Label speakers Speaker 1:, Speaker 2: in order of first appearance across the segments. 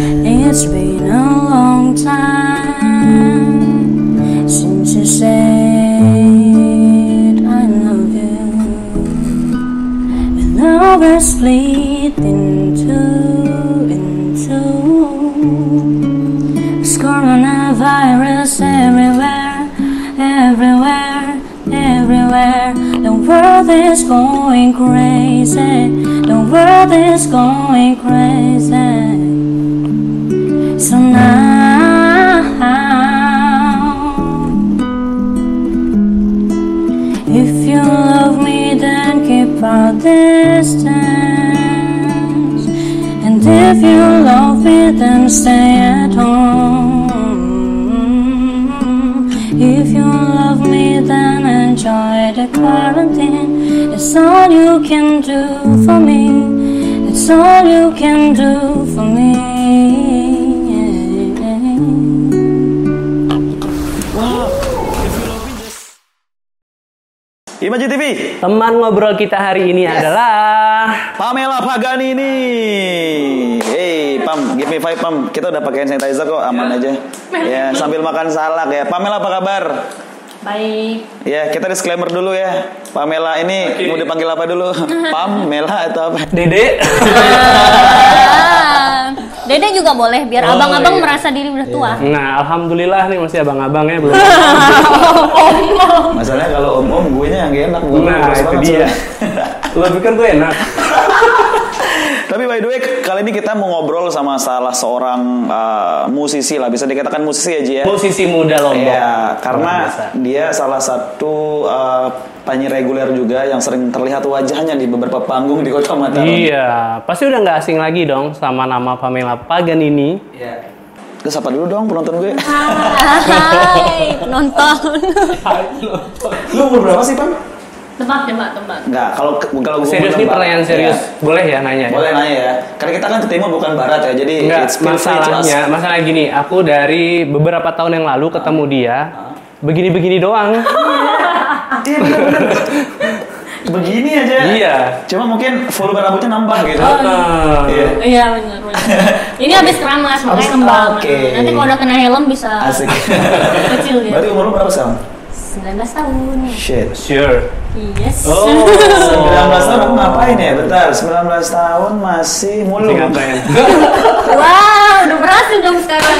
Speaker 1: It's been a long time since you said I love you. And now we're split in two, in two. It's coronavirus everywhere, everywhere, everywhere. The world is going crazy. The world is going crazy. So now, if you love me, then keep our distance. And if you love me, then stay at home. If you love me, then enjoy the quarantine. It's all you can do for me. It's all you can do for me.
Speaker 2: Imaji TV,
Speaker 3: Teman ngobrol kita hari ini adalah
Speaker 2: Pamela Pagani ini. Hey, Pam, give me five, Pam. Kita udah pakai hand sanitizer kok, aman aja. Ya, sambil makan salak ya. Pamela apa kabar?
Speaker 1: Bye.
Speaker 2: Ya, kita disclaimer dulu ya. Pamela ini mau dipanggil apa dulu? Pam, Mela atau apa?
Speaker 3: Dede.
Speaker 4: Ah, Dede juga boleh biar
Speaker 3: Oh,
Speaker 4: abang-abang
Speaker 3: iya.
Speaker 4: merasa diri udah tua.
Speaker 3: Nah, alhamdulillah nih masih abang-abangnya belum.
Speaker 2: Masalahnya kalau om-om gue nya yang enak gue
Speaker 3: Nah,
Speaker 2: kurus
Speaker 3: itu
Speaker 2: banget
Speaker 3: dia.
Speaker 2: soalnya.
Speaker 3: Lo pikir gue enak?
Speaker 2: Tapi by the way, kali ini kita mau ngobrol sama salah seorang uh, musisi lah, bisa dikatakan musisi aja ya.
Speaker 3: Posisi muda lombok.
Speaker 2: Iya, karena
Speaker 3: Luar biasa.
Speaker 2: dia salah satu uh, penyanyi reguler juga yang sering terlihat wajahnya di beberapa panggung di Kota Mataram.
Speaker 3: Iya, pasti udah nggak asing lagi dong sama nama Pamela Pagan ini.
Speaker 2: Iya. Terus apa dulu dong penonton gue?
Speaker 3: Iya.
Speaker 4: Hai, penonton.
Speaker 2: Lu umur berapa sih, Pam?
Speaker 4: Tebak, tebak, tebak.
Speaker 2: Enggak, kalau kalau gue
Speaker 3: Serius nih
Speaker 2: menebak,
Speaker 3: pertanyaan
Speaker 2: ya.
Speaker 3: serius. Boleh ya nanya?
Speaker 2: Boleh nanya ya. Karena kita kan ketemu bukan barat ya, jadi
Speaker 3: Nggak,
Speaker 2: it's feel free to ask.
Speaker 3: masalahnya, masalah gini, aku dari beberapa tahun yang lalu ketemu
Speaker 2: Ah.
Speaker 3: dia, begini-begini doang.
Speaker 2: Iya, bener-bener. Begini aja.
Speaker 3: Iya.
Speaker 2: Cuma mungkin volume rambutnya nambah gitu.
Speaker 3: Ah.
Speaker 2: Iya.
Speaker 4: Iya benar benar. Ini habis keramas
Speaker 2: Habis-
Speaker 4: makanya
Speaker 2: Ah,
Speaker 4: kembang.
Speaker 2: oke.
Speaker 4: Nanti kalau udah kena helm bisa
Speaker 2: Asik.
Speaker 4: kecil dia.
Speaker 2: Berarti umur lu berapa, Sam?
Speaker 4: 19 tahun.
Speaker 2: Shit.
Speaker 3: Sure.
Speaker 4: Yes.
Speaker 3: Oh.
Speaker 2: 19 tahun aku ngapain ya? Bentar, 19 tahun masih mulu.
Speaker 3: Masih ngapain?
Speaker 4: Wow, udah berhasil dong sekarang.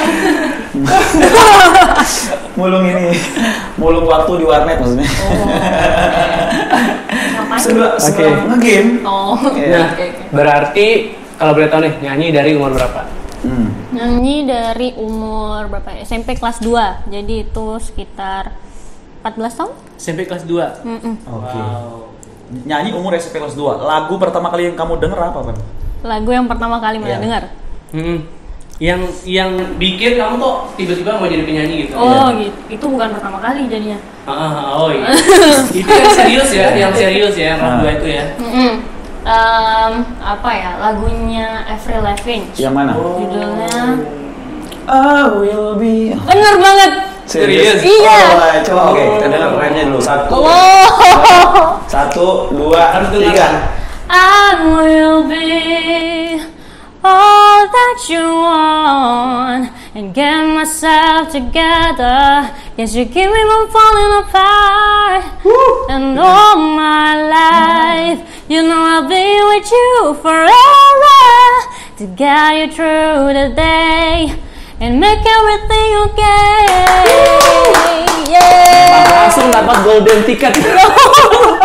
Speaker 2: mulung ini. Mulung waktu di warnet maksudnya.
Speaker 4: Ngapain?
Speaker 2: Sebelum sebelum
Speaker 3: Oke.
Speaker 2: nge-game.
Speaker 4: Oh.
Speaker 2: Iya.
Speaker 3: Nah, berarti kalau boleh tahu nih, nyanyi dari umur berapa?
Speaker 2: Hmm.
Speaker 4: Nyanyi dari umur berapa ya? SMP kelas 2. Jadi itu sekitar 14 tahun?
Speaker 3: SMP kelas 2.
Speaker 4: Mm-mm.
Speaker 2: Oke. Nyanyi umur SMP kelas 2. Lagu pertama kali yang kamu denger apa, Bang?
Speaker 4: Lagu yang pertama kali Mela
Speaker 2: Iya.
Speaker 4: dengar.
Speaker 3: Hmm. Yang yang bikin kamu tuh tiba-tiba mau jadi penyanyi
Speaker 2: Iya.
Speaker 3: gitu.
Speaker 4: Oh, gitu. Itu bukan pertama kali jadinya.
Speaker 3: Ah, ah, oh iya. itu yang serius ya, yang serius ya, yang
Speaker 2: Ah.
Speaker 3: kedua itu ya.
Speaker 4: Mm-mm. Em, apa ya? Lagunya Avril Lavigne.
Speaker 2: Yang mana?
Speaker 4: Judulnya
Speaker 2: I will be
Speaker 4: Bener banget.
Speaker 3: Serius?
Speaker 4: Iya.
Speaker 2: Oh, boleh. coba oke, kita dengar kerennya dulu. Satu,
Speaker 4: Oh.
Speaker 2: satu, dua,
Speaker 3: Harus dengar.
Speaker 2: tiga.
Speaker 4: I will be all that you want and get myself together. Yes, you keep me from falling apart. And all my life, you know I'll be with you forever to get you through the day and make everything okay. Yeah.
Speaker 3: Langsung dapat golden ticket.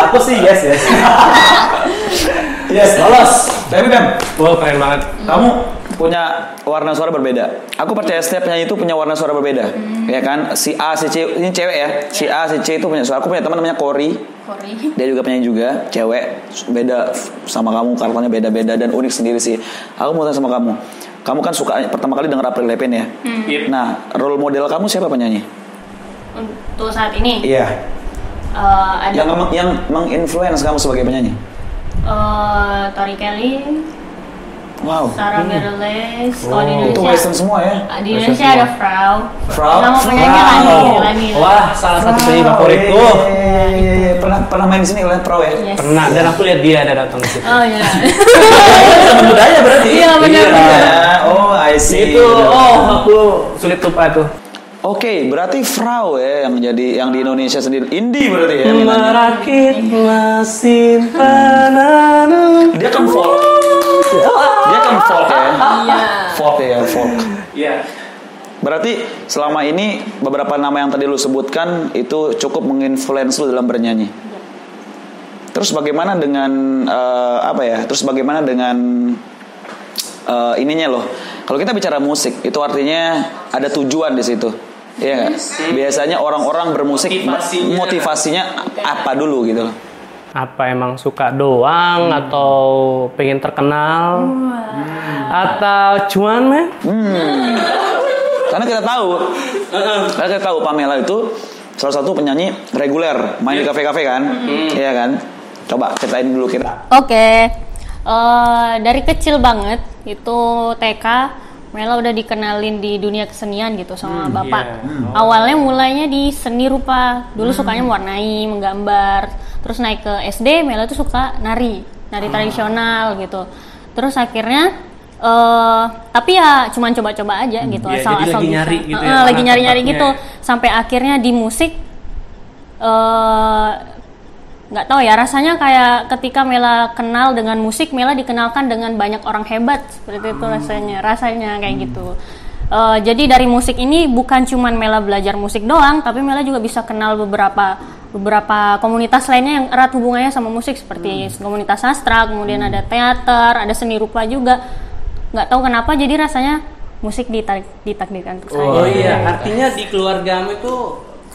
Speaker 2: Aku sih yes yes. yes lolos. Tapi Bem,
Speaker 3: Wah, keren banget.
Speaker 2: kamu punya warna suara berbeda. Aku percaya setiap penyanyi itu punya warna suara berbeda, ya kan? Si A, si C, ini cewek ya. Si A, si C itu punya suara. Aku punya teman namanya Cory. Dia juga penyanyi juga, cewek. Beda sama kamu, karakternya beda-beda dan unik sendiri sih. Aku mau tanya sama kamu. Kamu kan suka pertama kali denger April Lavigne ya.
Speaker 3: Yep.
Speaker 4: Hmm.
Speaker 2: Nah, role model kamu siapa penyanyi?
Speaker 4: Untuk saat ini
Speaker 2: Iya.
Speaker 4: eh, ada
Speaker 2: Yang meng- yang menginfluence kamu sebagai penyanyi?
Speaker 4: eh Tori Kelly,
Speaker 2: Wow.
Speaker 4: Sarah Bareilles. Kalau di
Speaker 2: Hmm. Oh, Itu
Speaker 4: Indonesia,
Speaker 2: western semua ya.
Speaker 4: ah, di Indonesia ada Frau.
Speaker 2: Frau?
Speaker 4: Nama penyanyi
Speaker 2: Frau.
Speaker 4: Lani, Lani.
Speaker 3: Wah, salah satu penyanyi favoritku.
Speaker 2: Iya, iya, iya, iya. Pernah pernah main di sini kalian pro ya?
Speaker 4: Yes.
Speaker 3: Pernah dan aku lihat dia ada datang ke situ.
Speaker 4: Oh iya.
Speaker 2: Sama budaya berarti.
Speaker 4: Iya, benar-benar.
Speaker 2: Iya. Oh, I see.
Speaker 3: Itu oh aku sulit lupa tuh.
Speaker 2: Oke, berarti Frau ya yang jadi yang di Indonesia sendiri indie berarti ya. mainannya.
Speaker 3: Merakit mesin penenun.
Speaker 2: Dia kan folk. Dia kan folk ya. Folk ya, folk.
Speaker 3: Iya.
Speaker 2: Berarti selama ini beberapa nama yang tadi lu sebutkan itu cukup menginfluence lu dalam bernyanyi. Terus bagaimana dengan eh, apa ya? Terus bagaimana dengan eh, ininya loh? Kalau kita bicara musik, itu artinya ada tujuan di situ. Iya nggak? Biasanya orang-orang bermusik
Speaker 3: Motivasinya.
Speaker 2: motivasinya apa dulu gitu loh.
Speaker 3: Apa emang suka doang atau pengen terkenal? Hmm. Atau cuan meh?
Speaker 2: Karena kita tahu, karena kita tahu Pamela itu salah satu penyanyi reguler main di kafe-kafe kan,
Speaker 3: Mm-hmm.
Speaker 2: iya kan? Coba ceritain dulu kita.
Speaker 4: Oke. Eh, dari kecil banget itu TK Mela udah dikenalin di dunia kesenian gitu sama bapak.
Speaker 3: iya. Hmm.
Speaker 4: Awalnya mulainya di seni rupa. Dulu sukanya mewarnai, menggambar. Terus naik ke SD Mela tuh suka nari,
Speaker 3: Ah.
Speaker 4: nari tradisional gitu. Terus akhirnya eh tapi ya cuman coba-coba aja gitu
Speaker 3: Iya,
Speaker 4: asal
Speaker 3: jadi
Speaker 4: asal
Speaker 3: lagi nyari gitu ya,
Speaker 4: lagi
Speaker 3: mana
Speaker 4: nyari-nyari
Speaker 3: tempatnya
Speaker 4: gitu
Speaker 3: ya.
Speaker 4: sampai akhirnya di musik eh, nggak tahu ya rasanya kayak ketika Mela kenal dengan musik Mela dikenalkan dengan banyak orang hebat seperti itu rasanya rasanya kayak gitu Eh, jadi dari musik ini bukan cuman Mela belajar musik doang tapi Mela juga bisa kenal beberapa beberapa komunitas lainnya yang erat hubungannya sama musik seperti komunitas sastra kemudian ada teater ada seni rupa juga nggak tahu kenapa jadi rasanya musik ditarik ditakdirkan untuk saya
Speaker 3: Oh iya, artinya di keluarga kamu itu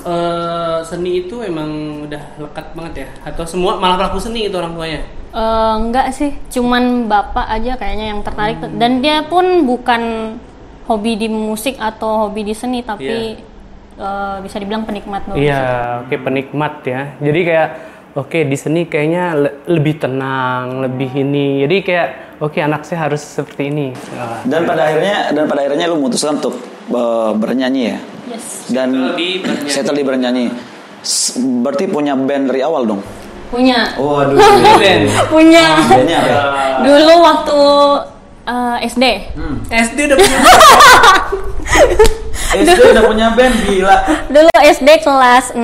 Speaker 3: eh, seni itu emang udah lekat banget ya? Atau semua malah pelaku seni itu orang tuanya?
Speaker 4: Eh, enggak sih, cuman bapak aja kayaknya yang tertarik dan dia pun bukan hobi di musik atau hobi di seni tapi eh, bisa dibilang penikmat doang.
Speaker 3: Iya, oke penikmat ya. Jadi kayak oke di seni kayaknya le- lebih tenang, lebih ini. Jadi kayak oke anak saya harus seperti ini. Ah.
Speaker 2: Dan pada akhirnya dan pada akhirnya lu memutuskan untuk eh, bernyanyi ya.
Speaker 4: Yes.
Speaker 2: Dan
Speaker 3: Settle di bernyanyi.
Speaker 2: settle di bernyanyi. S- Berarti punya band dari awal dong.
Speaker 4: Punya.
Speaker 2: Waduh.
Speaker 3: Ben,
Speaker 4: Punya.
Speaker 2: Oh, Bandnya apa? ya?
Speaker 4: Dulu waktu eh, SD.
Speaker 3: SD udah punya
Speaker 2: SD udah punya band gila.
Speaker 4: Dulu SD kelas 6.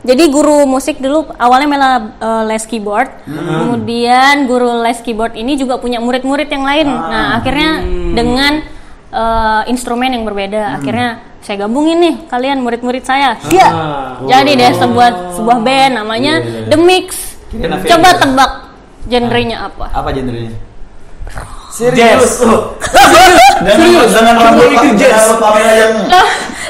Speaker 4: Jadi guru musik dulu awalnya Mela eh, les keyboard.
Speaker 2: Hmm.
Speaker 4: Kemudian guru les keyboard ini juga punya murid-murid yang lain.
Speaker 2: Ah.
Speaker 4: Nah, akhirnya
Speaker 2: Hmm.
Speaker 4: dengan eh, instrumen yang berbeda, akhirnya saya gabungin nih kalian murid-murid saya.
Speaker 2: Ah.
Speaker 4: Iya. Jadi deh sebuah sebuah band namanya The Mix.
Speaker 2: Iya, Kira-kira apa
Speaker 4: Coba
Speaker 2: ya?
Speaker 4: tebak genrenya apa?
Speaker 2: Apa genrenya?
Speaker 3: Jazz.
Speaker 2: Dan dengan rambut mikir jazz. Pamela yang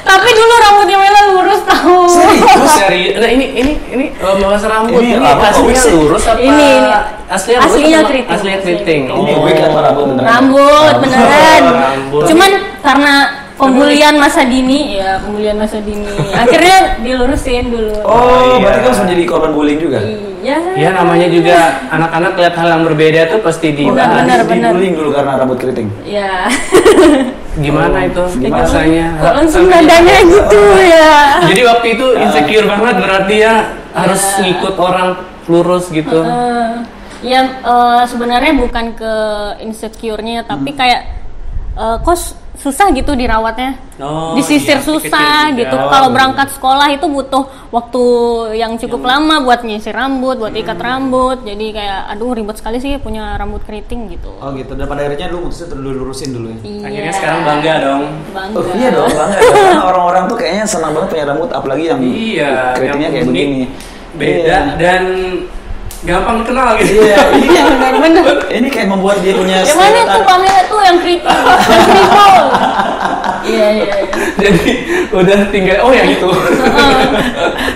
Speaker 4: Tapi dulu rambutnya Mela lurus tahu.
Speaker 3: Serius? Seri- Nah, ini ini ini eh, bahas rambut.
Speaker 2: Ini
Speaker 3: Ini,
Speaker 2: apa?
Speaker 3: aslinya
Speaker 2: Wisik.
Speaker 3: lurus apa?
Speaker 4: Ini, ini.
Speaker 3: Aslinya lurus
Speaker 4: Aslinya
Speaker 3: apa?
Speaker 4: keriting.
Speaker 3: Aslinya keriting.
Speaker 2: ini
Speaker 3: Oh.
Speaker 2: gue kan rambut beneran.
Speaker 4: Rambut, beneran.
Speaker 3: Rambut.
Speaker 4: Cuman karena pembulian masa dini, ya pembulian masa dini. Akhirnya dilurusin dulu.
Speaker 2: Oh,
Speaker 3: Iya.
Speaker 2: berarti kamu harus menjadi korban bullying juga?
Speaker 4: Iya.
Speaker 3: Ya namanya juga anak-anak lihat hal yang berbeda tuh pasti dibahas.
Speaker 4: Oh, benar,
Speaker 2: Di
Speaker 4: benar.
Speaker 2: bullying Ah, dulu karena rambut keriting.
Speaker 4: Ya.
Speaker 3: Gimana itu
Speaker 2: Gimana?
Speaker 3: rasanya?
Speaker 4: Kok langsung nadanya gitu ya.
Speaker 3: Jadi waktu itu
Speaker 2: Ah.
Speaker 3: insecure banget berarti ya harus
Speaker 4: Iya.
Speaker 3: ngikut orang lurus gitu.
Speaker 4: Eh, ya eh, sebenarnya bukan ke insecure-nya tapi kayak eh, kok s- susah gitu dirawatnya.
Speaker 3: Oh,
Speaker 4: Disisir
Speaker 3: iya,
Speaker 4: susah
Speaker 3: kecil-kecil.
Speaker 4: gitu.
Speaker 3: Oh,
Speaker 4: Kalau berangkat sekolah itu butuh waktu yang cukup lama buat nyisir rambut, buat ikat rambut. Jadi kayak aduh ribet sekali sih punya rambut keriting gitu.
Speaker 2: Oh gitu. Dan pada akhirnya lu mutusnya dulu lurusin dulu
Speaker 4: Iya.
Speaker 2: ya.
Speaker 3: Akhirnya sekarang bangga dong.
Speaker 4: Bangga.
Speaker 2: Oh, iya dong banget. Karena orang-orang tuh kayaknya senang banget punya rambut apalagi yang
Speaker 3: Iya,
Speaker 2: keritingnya
Speaker 3: yang
Speaker 2: kayak
Speaker 3: unik,
Speaker 2: begini.
Speaker 3: Beda dan gampang kenal gitu.
Speaker 2: Iya, iya benar-benar. Ini kayak membuat dia punya
Speaker 4: Yang mana tuh
Speaker 2: stereotype.
Speaker 4: Pamela tuh yang keriting, yang keripol. Iya iya. iya.
Speaker 3: Jadi udah tinggal oh ya gitu.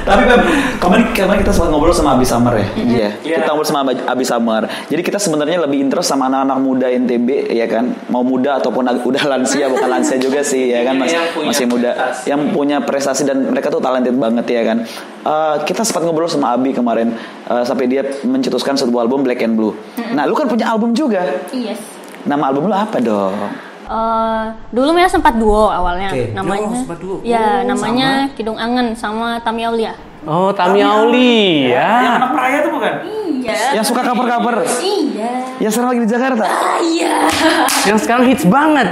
Speaker 2: Tapi Beb, kemarin kemarin kita sempat ngobrol sama Abi Summer ya. Iya.
Speaker 3: Iya.
Speaker 2: Kita ngobrol sama Abi- Abi Summer. Jadi kita sebenarnya lebih interest sama anak-anak muda NTB ya kan. Mau muda ataupun ag- udah lansia bukan lansia juga sih ya kan
Speaker 3: Iya,
Speaker 2: masih
Speaker 3: yang punya
Speaker 2: masih muda.
Speaker 3: prestasi.
Speaker 2: Yang punya prestasi dan mereka tuh talented banget ya kan. Eh, kita sempat ngobrol sama Abi kemarin eh, sampai dia mencetuskan sebuah album Black and Blue. Nah, lu kan punya album juga.
Speaker 4: Yes.
Speaker 2: Nama album lu apa dong?
Speaker 4: Eh, dulu Mia sempat duo awalnya
Speaker 5: Oke. Oh,
Speaker 4: namanya
Speaker 5: sempat duo.
Speaker 4: ya
Speaker 5: Oh,
Speaker 4: namanya Kidung Angen sama Tami Aulia
Speaker 3: Oh, Tami Auli
Speaker 5: Yang
Speaker 3: ya.
Speaker 5: anak peraya itu bukan?
Speaker 4: iya
Speaker 2: Yang suka cover-cover.
Speaker 4: iya
Speaker 2: Yang sekarang lagi di Jakarta.
Speaker 3: Yang sekarang hits banget.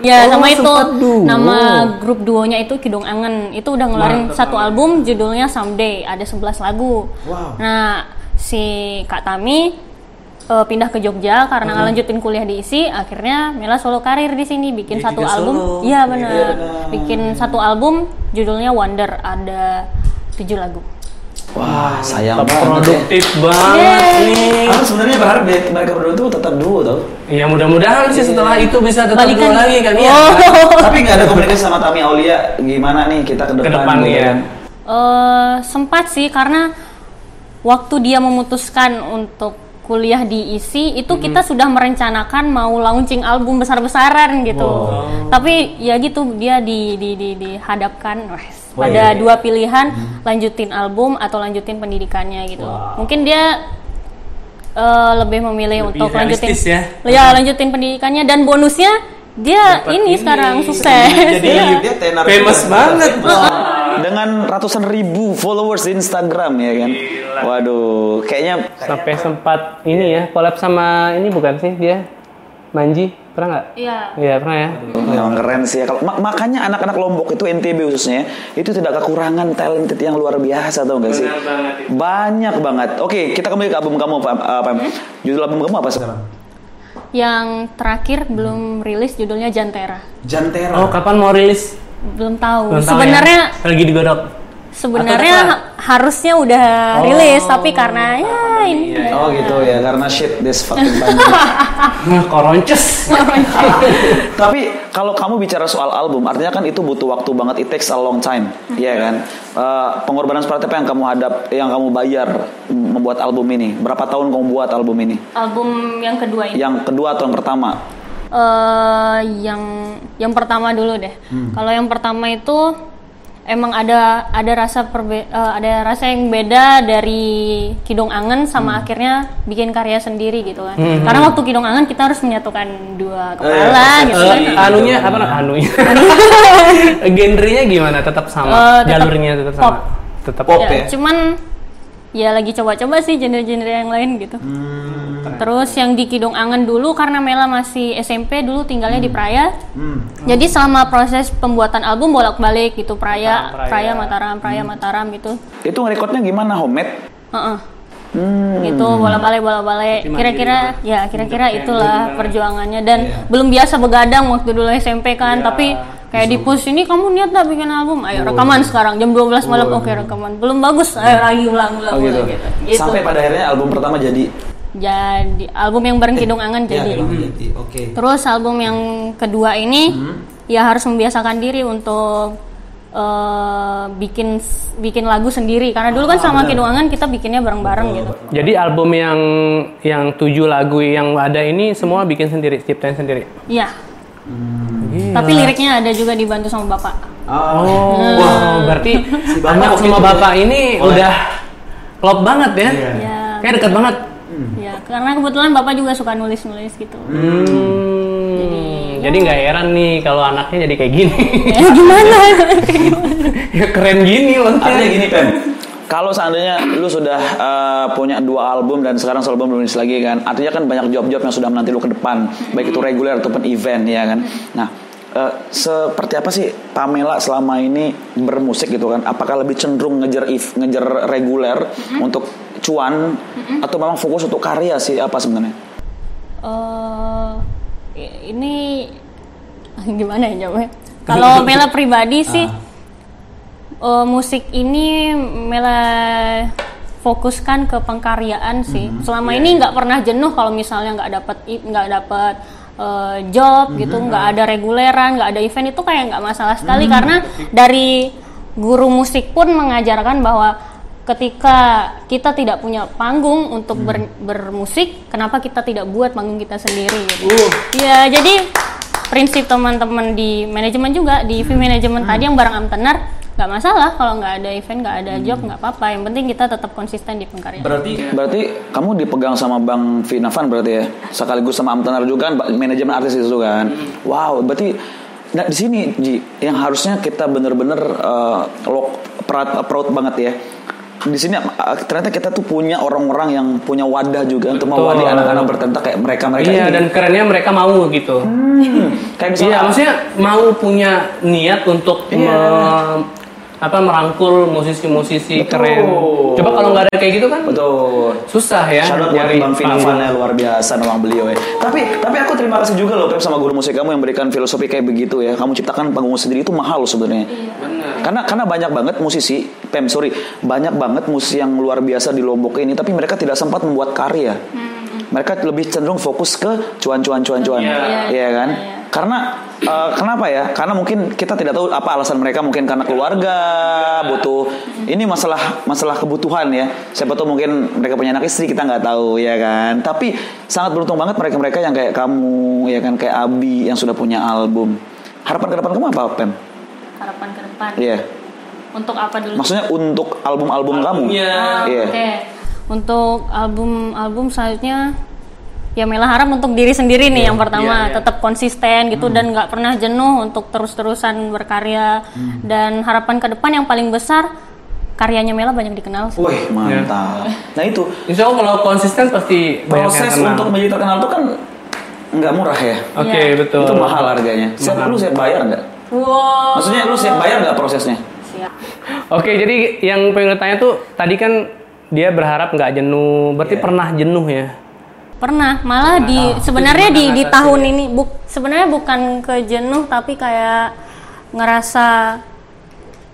Speaker 4: Ya nama itu
Speaker 3: sempat duo.
Speaker 4: nama grup duonya itu Kidung Angen itu udah ngeluarin satu album judulnya Someday ada 11 lagu.
Speaker 5: Wow.
Speaker 4: Nah si Kak Tami eh, pindah ke Jogja
Speaker 5: Mm-hmm.
Speaker 4: karena ngelanjutin kuliah di ISI akhirnya Mela solo karir di sini bikin
Speaker 5: Dia
Speaker 4: satu
Speaker 5: juga
Speaker 4: album.
Speaker 5: solo.
Speaker 4: Iya benar.
Speaker 5: Iya, benar.
Speaker 4: Bikin satu album judulnya Wonder ada tujuh lagu.
Speaker 2: Wah, sayang
Speaker 3: Tetap
Speaker 2: banget. ya.
Speaker 3: produktif banget nih.
Speaker 2: Aku sebenarnya berharap deh, mereka berdua tuh tetap duo tau.
Speaker 3: Ya mudah-mudahan sih setelah itu bisa tetap
Speaker 4: Balikan.
Speaker 3: duo lagi kan ya.
Speaker 4: Oh.
Speaker 2: Tapi nggak ada komunikasi sama Tami Aulia. Gimana nih kita ke depan?
Speaker 3: Ke depan
Speaker 2: gitu
Speaker 3: ya.
Speaker 2: kan?
Speaker 4: Eh, sempat sih karena waktu dia memutuskan untuk kuliah di ISI itu kita
Speaker 3: Hmm.
Speaker 4: sudah merencanakan mau launching album besar-besaran gitu. Tapi ya gitu dia di di di dihadapkan wes, pada dua pilihan
Speaker 3: Hmm.
Speaker 4: lanjutin album atau lanjutin pendidikannya gitu. Mungkin dia eh, lebih memilih
Speaker 3: Lebih
Speaker 4: untuk lanjutin
Speaker 3: realistis ya.
Speaker 4: ya, lanjutin pendidikannya dan bonusnya dia ini, sekarang sukses.
Speaker 5: Jadi
Speaker 4: Iya.
Speaker 5: dia tenar.
Speaker 3: Famous banget.
Speaker 2: Dengan ratusan ribu followers di Instagram ya kan. Waduh, kayaknya
Speaker 3: Sampai sempat ini ya, collab sama ini bukan sih dia? Manji, pernah nggak?
Speaker 4: Iya.
Speaker 3: Iya, pernah ya.
Speaker 2: Memang keren sih ya. Kalau mak- makanya anak-anak Lombok itu NTB khususnya itu tidak kekurangan talented yang luar biasa tau gak sih? Banyak banget. Oke, kita kembali ke album kamu, Pam. Eh, Pam. Judul album kamu apa sekarang?
Speaker 4: Yang terakhir belum rilis judulnya Jantera.
Speaker 5: Jantera.
Speaker 3: Oh, kapan mau rilis?
Speaker 4: Belum tahu.
Speaker 3: Belum tahu
Speaker 4: sebenarnya
Speaker 3: ya? lagi digodok.
Speaker 4: sebenarnya
Speaker 5: Atau
Speaker 4: ha- harusnya udah
Speaker 3: Oh.
Speaker 4: rilis tapi karena ya ini
Speaker 2: Oh gitu ya, karena shit this fucking pandemic.
Speaker 3: Nah, koronces. iya.
Speaker 2: Tapi kalau kamu bicara soal album, artinya kan itu butuh waktu banget. It takes a long time, iya kan? Eh, pengorbanan seperti apa yang kamu hadap, yang kamu bayar m- membuat album ini? Berapa tahun kamu buat album ini?
Speaker 4: album yang kedua
Speaker 3: Iya.
Speaker 4: ini.
Speaker 2: Yang kedua atau yang pertama?
Speaker 4: Eh, yang yang pertama dulu deh.
Speaker 3: Hmm.
Speaker 4: Kalau yang pertama itu emang ada ada rasa perbe- eh, ada rasa yang beda dari Kidung Angen
Speaker 3: Hmm.
Speaker 4: sama akhirnya bikin karya sendiri gitu kan. Karena waktu Kidung Angen kita harus menyatukan dua kepala gitu kan.
Speaker 3: iya. Eh, iya. anunya apa namanya? Anunya. Genrenya gimana? Tetap
Speaker 4: Eh,
Speaker 3: sama.
Speaker 4: tetap
Speaker 3: Jalurnya tetap
Speaker 4: pop.
Speaker 3: sama. Tetap
Speaker 2: Pop.
Speaker 4: ya,
Speaker 2: ya?
Speaker 4: cuman ya lagi coba-coba sih genre-genre yang lain gitu. Terus yang di Kidung Angen dulu karena Mela masih SMP dulu tinggalnya di Praya. Jadi selama proses pembuatan album bolak-balik gitu Praya,
Speaker 3: Mataram, Praya.
Speaker 4: Praya Mataram, Praya Mataram gitu.
Speaker 2: Itu ngerekodnya gimana, homemade?
Speaker 4: Heeh. Gitu bolak-balik bolak-balik.
Speaker 3: Tapi mandiri
Speaker 4: Kira-kira
Speaker 3: banget.
Speaker 4: ya kira-kira
Speaker 3: Independen
Speaker 4: itulah
Speaker 3: banget.
Speaker 4: perjuangannya dan belum biasa begadang waktu dulu SMP kan,
Speaker 3: Iya.
Speaker 4: tapi kayak di push ini kamu niat gak bikin album? Ayo rekaman sekarang jam 12 malam oke rekaman. Belum bagus. Ayo lagi ulang-ulang
Speaker 2: Oh gitu.
Speaker 4: Gitu.
Speaker 2: Sampai pada akhirnya album pertama jadi
Speaker 4: jadi album yang bareng Kidung Angan
Speaker 5: Ya,
Speaker 4: jadi
Speaker 2: iya.
Speaker 5: memang jadi. Oke.
Speaker 4: terus album yang kedua ini ya harus membiasakan diri untuk eh, bikin bikin lagu sendiri karena dulu kan sama Kidung Angan kita bikinnya bareng-bareng gitu
Speaker 3: Jadi album yang yang tujuh lagu yang ada ini semua bikin sendiri, ciptain sendiri.
Speaker 4: iya tapi liriknya ada juga dibantu sama bapak
Speaker 3: Oh, berarti
Speaker 5: bapak
Speaker 3: anak
Speaker 5: waktu
Speaker 2: gitu ya?
Speaker 3: sama
Speaker 5: itu
Speaker 3: bapak ini udah klop banget ya?
Speaker 4: Iya.
Speaker 3: Kayak dekat banget.
Speaker 4: ya karena kebetulan bapak juga suka nulis-nulis gitu
Speaker 3: Hmm, Jadi nggak heran nih kalau anaknya jadi kayak gini.
Speaker 4: ya gimana
Speaker 3: ya keren gini loh.
Speaker 2: Artinya gini Pem kalau seandainya lu sudah eh, punya dua album dan sekarang satu album belum rilis lagi kan, artinya kan banyak job-job yang sudah menanti lu ke depan, baik itu reguler ataupun event ya kan. Nah, eh, seperti apa sih Pamela selama ini bermusik gitu kan? Apakah lebih cenderung ngejar if, ngejar reguler untuk cuan atau memang fokus untuk karya sih apa sebenarnya?
Speaker 4: eh ini gimana ya jawabnya? Kalau Mela pribadi sih eh, musik ini Mela fokuskan ke pengkaryaan sih. Selama ini nggak pernah jenuh kalau misalnya nggak dapat i- nggak dapat eh, job gitu, nggak ada reguleran, nggak ada event itu kayak nggak masalah sekali karena dari guru musik pun mengajarkan bahwa ketika kita tidak punya panggung untuk ber- bermusik, kenapa kita tidak buat panggung kita sendiri? gitu. Ya,
Speaker 2: Hmm.
Speaker 4: jadi prinsip teman-teman di manajemen juga di V manajemen tadi yang bareng Amtenar, nggak masalah kalau nggak ada event nggak ada job
Speaker 2: Hmm.
Speaker 4: nggak apa-apa yang penting kita tetap konsisten di pengkarya
Speaker 5: Berarti
Speaker 2: Berarti kamu dipegang sama Bang Vinavan berarti ya? Sekaligus sama Amtanar juga kan, manajemen artis itu kan?
Speaker 3: Hmm.
Speaker 2: Wow, berarti nah, di sini Ji, yang harusnya kita bener-bener eh, lo- proud, proud banget ya. Di sini eh, ternyata kita tuh punya orang-orang yang punya wadah juga untuk mewadahi anak-anak bertentak kayak mereka-mereka
Speaker 3: Iya,
Speaker 2: ini. Hmm,
Speaker 3: dan kerennya mereka mau gitu.
Speaker 2: kayak misalnya
Speaker 3: Iya, maksudnya mau punya niat untuk
Speaker 2: Iya.
Speaker 3: me- apa merangkul musisi-musisi keren. Coba kalau nggak ada kayak gitu kan
Speaker 2: Betul.
Speaker 3: susah ya
Speaker 2: Shout out buat
Speaker 3: nyari
Speaker 2: Bang Vina
Speaker 3: panggung.
Speaker 2: Vanel, luar biasa memang beliau ya. Tapi tapi aku terima kasih juga loh Pep sama guru musik kamu yang berikan filosofi kayak begitu ya. Kamu ciptakan panggung sendiri itu mahal loh sebenarnya. Karena karena banyak banget musisi, Pem sorry, banyak banget musisi yang luar biasa di Lombok ini tapi mereka tidak sempat membuat karya. Mereka lebih cenderung fokus ke cuan-cuan-cuan-cuan. Iya kan? Karena eh, kenapa ya? Karena mungkin kita tidak tahu apa alasan mereka mungkin karena keluarga butuh ini masalah masalah kebutuhan ya. Siapa tahu mungkin mereka punya anak istri kita nggak tahu ya kan. Tapi sangat beruntung banget mereka-mereka yang kayak kamu ya kan kayak Abi yang sudah punya album. Harapan ke depan kamu apa, Pem?
Speaker 4: harapan ke depan
Speaker 2: Iya.
Speaker 4: untuk apa dulu
Speaker 2: Maksudnya untuk album-album kamu. Iya.
Speaker 4: Ah, Oke. Untuk album-album selanjutnya ya Mela harap untuk diri sendiri
Speaker 2: Iya.
Speaker 4: nih yang pertama tetap konsisten gitu
Speaker 2: Hmm.
Speaker 4: dan nggak pernah jenuh untuk terus-terusan berkarya
Speaker 2: Hmm.
Speaker 4: dan harapan ke depan yang paling besar karyanya Mela banyak dikenal. sih.
Speaker 3: Iya.
Speaker 2: Wih, mantap. Nah, itu
Speaker 3: Insya Allah kalau konsisten pasti banyak yang
Speaker 2: proses
Speaker 3: kenal.
Speaker 2: untuk menjadi terkenal itu kan nggak murah ya.
Speaker 3: Oke
Speaker 4: Iya.
Speaker 3: betul.
Speaker 2: Itu mahal harganya. Siap lu siap bayar nggak?
Speaker 4: Wow.
Speaker 2: Maksudnya lu siap bayar nggak prosesnya?
Speaker 4: Siap.
Speaker 3: Oke jadi yang pengen tanya tuh tadi kan dia berharap nggak jenuh, berarti pernah jenuh ya?
Speaker 4: Pernah, malah di sebenarnya di di tahun ini buk, sebenarnya bukan ke jenuh tapi kayak ngerasa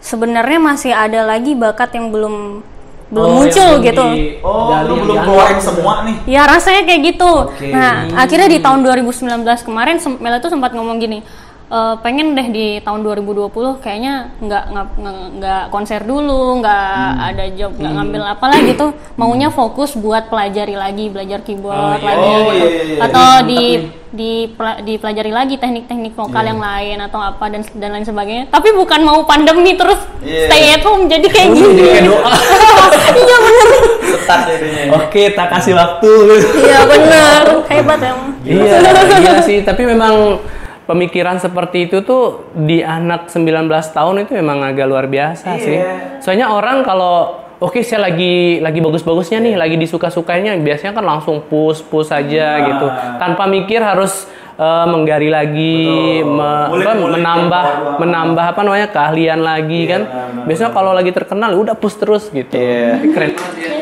Speaker 4: sebenarnya masih ada lagi bakat yang belum belum muncul gitu.
Speaker 5: oh lu belum keluarin semua nih.
Speaker 4: Ya rasanya kayak gitu. Nah, akhirnya di tahun 2019 kemarin sem- Mela tuh sempat ngomong gini, e, pengen deh di tahun 2020 kayaknya nggak ngap- nge- nggak konser dulu, nggak
Speaker 5: Hmm.
Speaker 4: ada job, nggak ngambil apalah gitu. Maunya fokus buat pelajari lagi, belajar keyboard, pelajari
Speaker 5: Oh, iya, iya, iya.
Speaker 4: atau di di pela- dipelajari lagi teknik-teknik vokal
Speaker 5: Iya.
Speaker 4: yang lain atau apa dan dan lain sebagainya. Tapi bukan mau pandemi terus
Speaker 5: Iya.
Speaker 4: stay at home jadi kayak gini. Iya bener.
Speaker 5: Ketat jadinya.
Speaker 3: Oke tak kasih waktu.
Speaker 4: Iya bener. Hebat emang.
Speaker 3: iya iya sih tapi memang pemikiran seperti itu tuh di anak 19 tahun itu memang agak luar biasa sih. Soalnya orang kalau oke saya lagi lagi bagus-bagusnya nih, lagi disuka-sukanya biasanya kan langsung push-push aja gitu. Tanpa mikir harus eh, menggali lagi, me-
Speaker 5: Mulik-mulik
Speaker 3: apa,
Speaker 5: yang
Speaker 3: menambah
Speaker 5: baru-baru.
Speaker 3: menambah apa namanya keahlian lagi kan. Biasanya kalau lagi terkenal udah push terus gitu.
Speaker 2: Iya.
Speaker 3: Keren.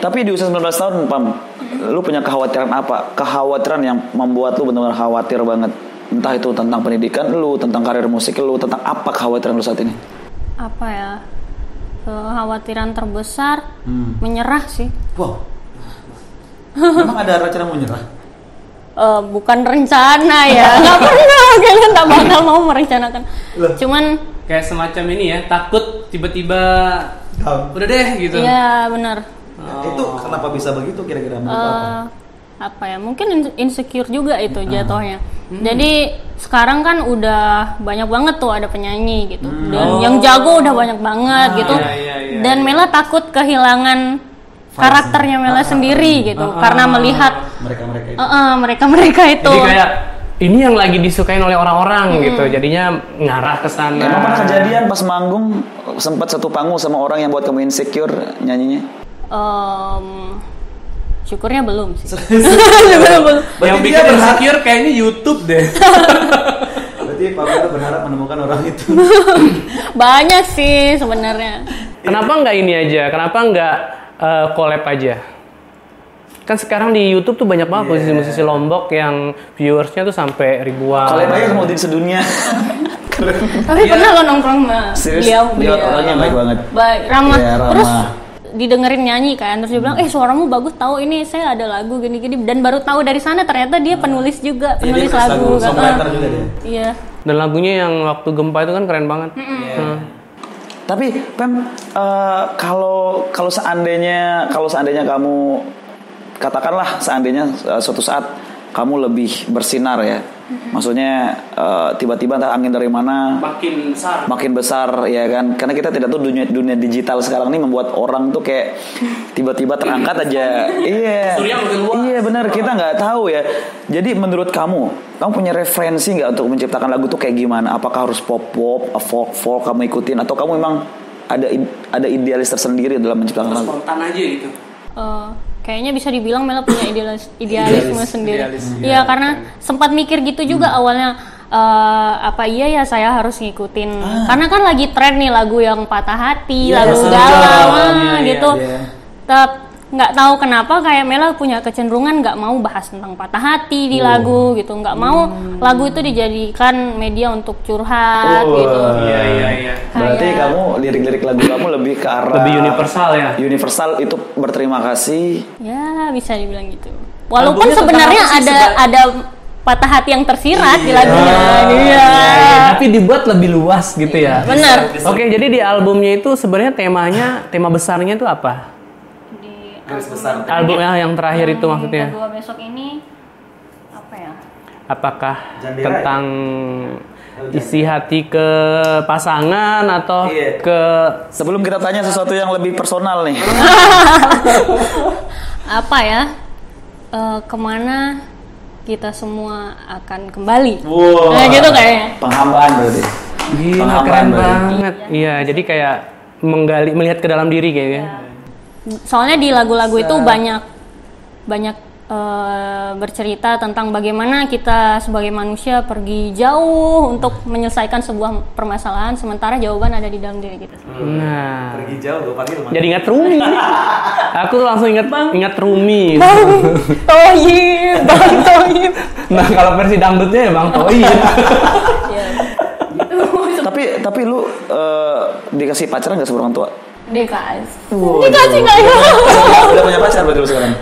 Speaker 2: Tapi di usia 19 tahun, Pam, lu punya kekhawatiran apa? Kekhawatiran yang membuat lu benar-benar khawatir banget. Entah itu tentang pendidikan lu, tentang karir musik lu, tentang apa kekhawatiran lu saat ini?
Speaker 4: apa ya kekhawatiran terbesar menyerah sih
Speaker 5: Wow. Emang ada rencana mau nyerah?
Speaker 4: Eh, bukan rencana ya nggak pernah kalian nggak bakal mau merencanakan cuman
Speaker 3: Kayak semacam ini ya, takut tiba-tiba
Speaker 5: Down.
Speaker 3: udah deh gitu.
Speaker 4: ya benar
Speaker 5: Nah, Itu kenapa bisa begitu kira-kira menurut apa?
Speaker 4: Eh, apa ya mungkin in- insecure juga itu jatuhnya jadi sekarang kan udah banyak banget tuh ada penyanyi gitu dan yang jago udah banyak banget gitu dan Mela takut kehilangan karakternya Mela sendiri gitu karena melihat
Speaker 5: Mereka-mereka itu.
Speaker 4: mereka mereka itu
Speaker 3: Jadi kayak ini yang lagi disukain oleh orang-orang gitu. Jadinya ngarah ke sana.
Speaker 2: Emang pernah kejadian pas manggung sempat satu panggung sama orang yang buat kamu insecure nyanyinya?
Speaker 4: Em, syukurnya belum sih.
Speaker 3: Yang
Speaker 5: Berarti
Speaker 3: bikin
Speaker 5: dia berharap,
Speaker 3: insecure kayaknya YouTube deh.
Speaker 5: berarti Pak Mela berharap menemukan orang itu.
Speaker 4: Banyak sih sebenarnya.
Speaker 3: Kenapa nggak ini aja? Kenapa nggak eh, collab aja? Kan sekarang di YouTube tuh banyak banget musisi-musisi Lombok yang viewersnya tuh sampai ribuan.
Speaker 2: Kalian aja mau jadi sedunia.
Speaker 4: Tapi pernah lo nongkrong sama
Speaker 2: Serius,
Speaker 4: beliau
Speaker 2: dia
Speaker 4: beliau.
Speaker 2: orangnya baik banget.
Speaker 4: Baik, ramah.
Speaker 2: Iya, ramah.
Speaker 4: Terus didengerin nyanyi kan terus dia bilang eh suaramu bagus tahu ini saya ada lagu gini-gini dan baru tahu dari sana ternyata dia penulis juga
Speaker 5: Jadi
Speaker 4: penulis
Speaker 5: penulis lagu,
Speaker 4: lagu kan.
Speaker 5: songwriter juga dia.
Speaker 4: iya
Speaker 3: Dan lagunya yang waktu gempa itu kan keren banget. Hmm.
Speaker 2: Tapi Pem, eh, kalau kalau seandainya kalau seandainya kamu katakanlah seandainya eh, suatu saat kamu lebih bersinar ya. Maksudnya eh, tiba-tiba entah angin dari mana
Speaker 3: makin besar
Speaker 2: makin besar ya kan karena kita tidak tahu dunia dunia digital sekarang ini membuat orang tuh kayak tiba-tiba terangkat aja iya
Speaker 3: Surya makin luas.
Speaker 2: iya benar kita nggak tahu ya jadi menurut kamu kamu punya referensi nggak untuk menciptakan lagu tuh kayak gimana apakah harus pop pop folk folk kamu ikutin atau kamu memang ada id- ada idealis tersendiri dalam menciptakan lagu
Speaker 3: spontan aja gitu
Speaker 4: Eh, kayaknya bisa dibilang Mela punya idealis, idealisme
Speaker 3: Idealis,
Speaker 4: sendiri.
Speaker 3: idealis. kan. Hmm.
Speaker 4: Iya karena sempat mikir gitu juga awalnya eh, apa iya ya saya harus ngikutin.
Speaker 3: Ah.
Speaker 4: Karena kan lagi tren nih lagu yang patah hati, lagu
Speaker 3: betul.
Speaker 4: galau ah,
Speaker 3: Iya, iya,
Speaker 4: gitu.
Speaker 5: iya.
Speaker 4: Tep, nggak tahu kenapa kayak Mela punya kecenderungan nggak mau bahas tentang patah hati
Speaker 3: Oh.
Speaker 4: di lagu gitu, nggak mau
Speaker 3: Hmm.
Speaker 4: lagu itu dijadikan media untuk curhat gitu.
Speaker 3: iya iya iya
Speaker 2: berarti
Speaker 4: Kayak-
Speaker 2: kamu lirik-lirik lagu kamu lebih ke arah
Speaker 3: lebih universal ya
Speaker 2: universal itu berterima kasih
Speaker 4: Ya bisa dibilang gitu. Walaupun
Speaker 3: Lagunya tentang
Speaker 4: sebenarnya
Speaker 3: apa sih
Speaker 4: ada
Speaker 3: seba- Ah,
Speaker 4: ada patah hati yang tersirat di lagunya. Iya.
Speaker 3: tapi dibuat lebih luas gitu ya
Speaker 4: Benar.
Speaker 3: Oke, jadi di albumnya itu sebenarnya temanya, tema besarnya itu apa?
Speaker 5: garis besar
Speaker 3: Album yang- yang terakhir itu maksudnya.
Speaker 4: Kedua besok ini apa ya?
Speaker 3: Apakah
Speaker 5: Jangan dirai.
Speaker 3: tentang
Speaker 5: ya?
Speaker 3: isi hati ke pasangan atau
Speaker 5: Iya.
Speaker 3: ke
Speaker 2: sebelum kita tanya sesuatu yang lebih personal nih
Speaker 4: Apa ya? Eh, kemana kita semua akan kembali?
Speaker 5: Wow.
Speaker 4: Nah, gitu kayaknya.
Speaker 2: penghambaan berarti
Speaker 3: Gila,
Speaker 2: Pengalaman
Speaker 3: keren
Speaker 2: berarti.
Speaker 3: banget. Iya, jadi kayak menggali melihat ke dalam diri gitu. kayaknya.
Speaker 5: Hmm.
Speaker 4: Soalnya di lagu-lagu itu banyak banyak eh, bercerita tentang bagaimana kita sebagai manusia pergi jauh untuk menyelesaikan sebuah permasalahan sementara jawaban ada di dalam diri kita.
Speaker 3: Nah,
Speaker 5: pergi jauh gue panggil
Speaker 3: jadi ingat Rumi. Aku langsung ingat ingat Rumi.
Speaker 4: Toyib, Bang Toyib.
Speaker 3: Nah, kalau versi dangdutnya ya Bang Toyin.
Speaker 4: Iya.
Speaker 2: tapi tapi lu eh, dikasih pacaran gak sama orang tua?
Speaker 4: DKS. Dikasih nggak ya?
Speaker 2: Udah punya pacar berarti lu sekarang?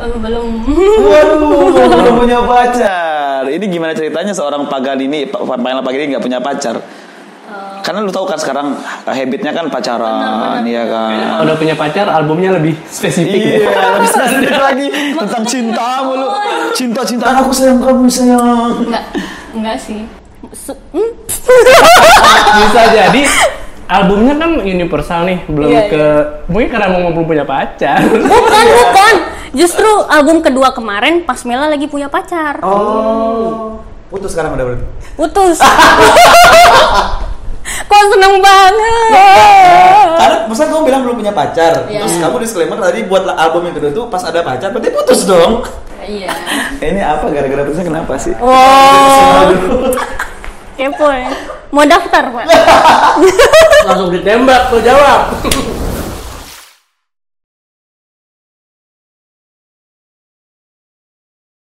Speaker 4: Eh, Belum.
Speaker 2: Waduh, belum punya pacar. Ini gimana ceritanya seorang pagan ini, pa- pemain pagan ini nggak punya pacar? Karena lu tahu kan sekarang eh, habitnya kan pacaran, iya kan?
Speaker 3: Udah punya pacar, albumnya lebih spesifik. ya.
Speaker 2: Iya, lebih sensitif lagi tentang cinta mulu, cinta cintaan Kan aku sayang kamu sayang.
Speaker 4: Enggak, enggak sih. Se- hmm?
Speaker 3: bisa jadi albumnya kan universal nih belum
Speaker 4: Iya,
Speaker 3: ke mungkin karena mau belum punya pacar
Speaker 4: Bukan, bukan. Justru album kedua kemarin pas Mela lagi punya pacar.
Speaker 5: oh putus sekarang udah berarti
Speaker 4: Putus. Kok seneng banget.
Speaker 5: karena masa kamu bilang belum punya pacar
Speaker 4: Iya.
Speaker 5: terus kamu disclaimer tadi buat album yang kedua tuh pas ada pacar berarti putus dong
Speaker 4: Iya.
Speaker 2: Ini apa gara-gara putusnya kenapa sih?
Speaker 4: Oh. Kepo ya. Mau daftar, Pak?
Speaker 3: langsung ditembak lo jawab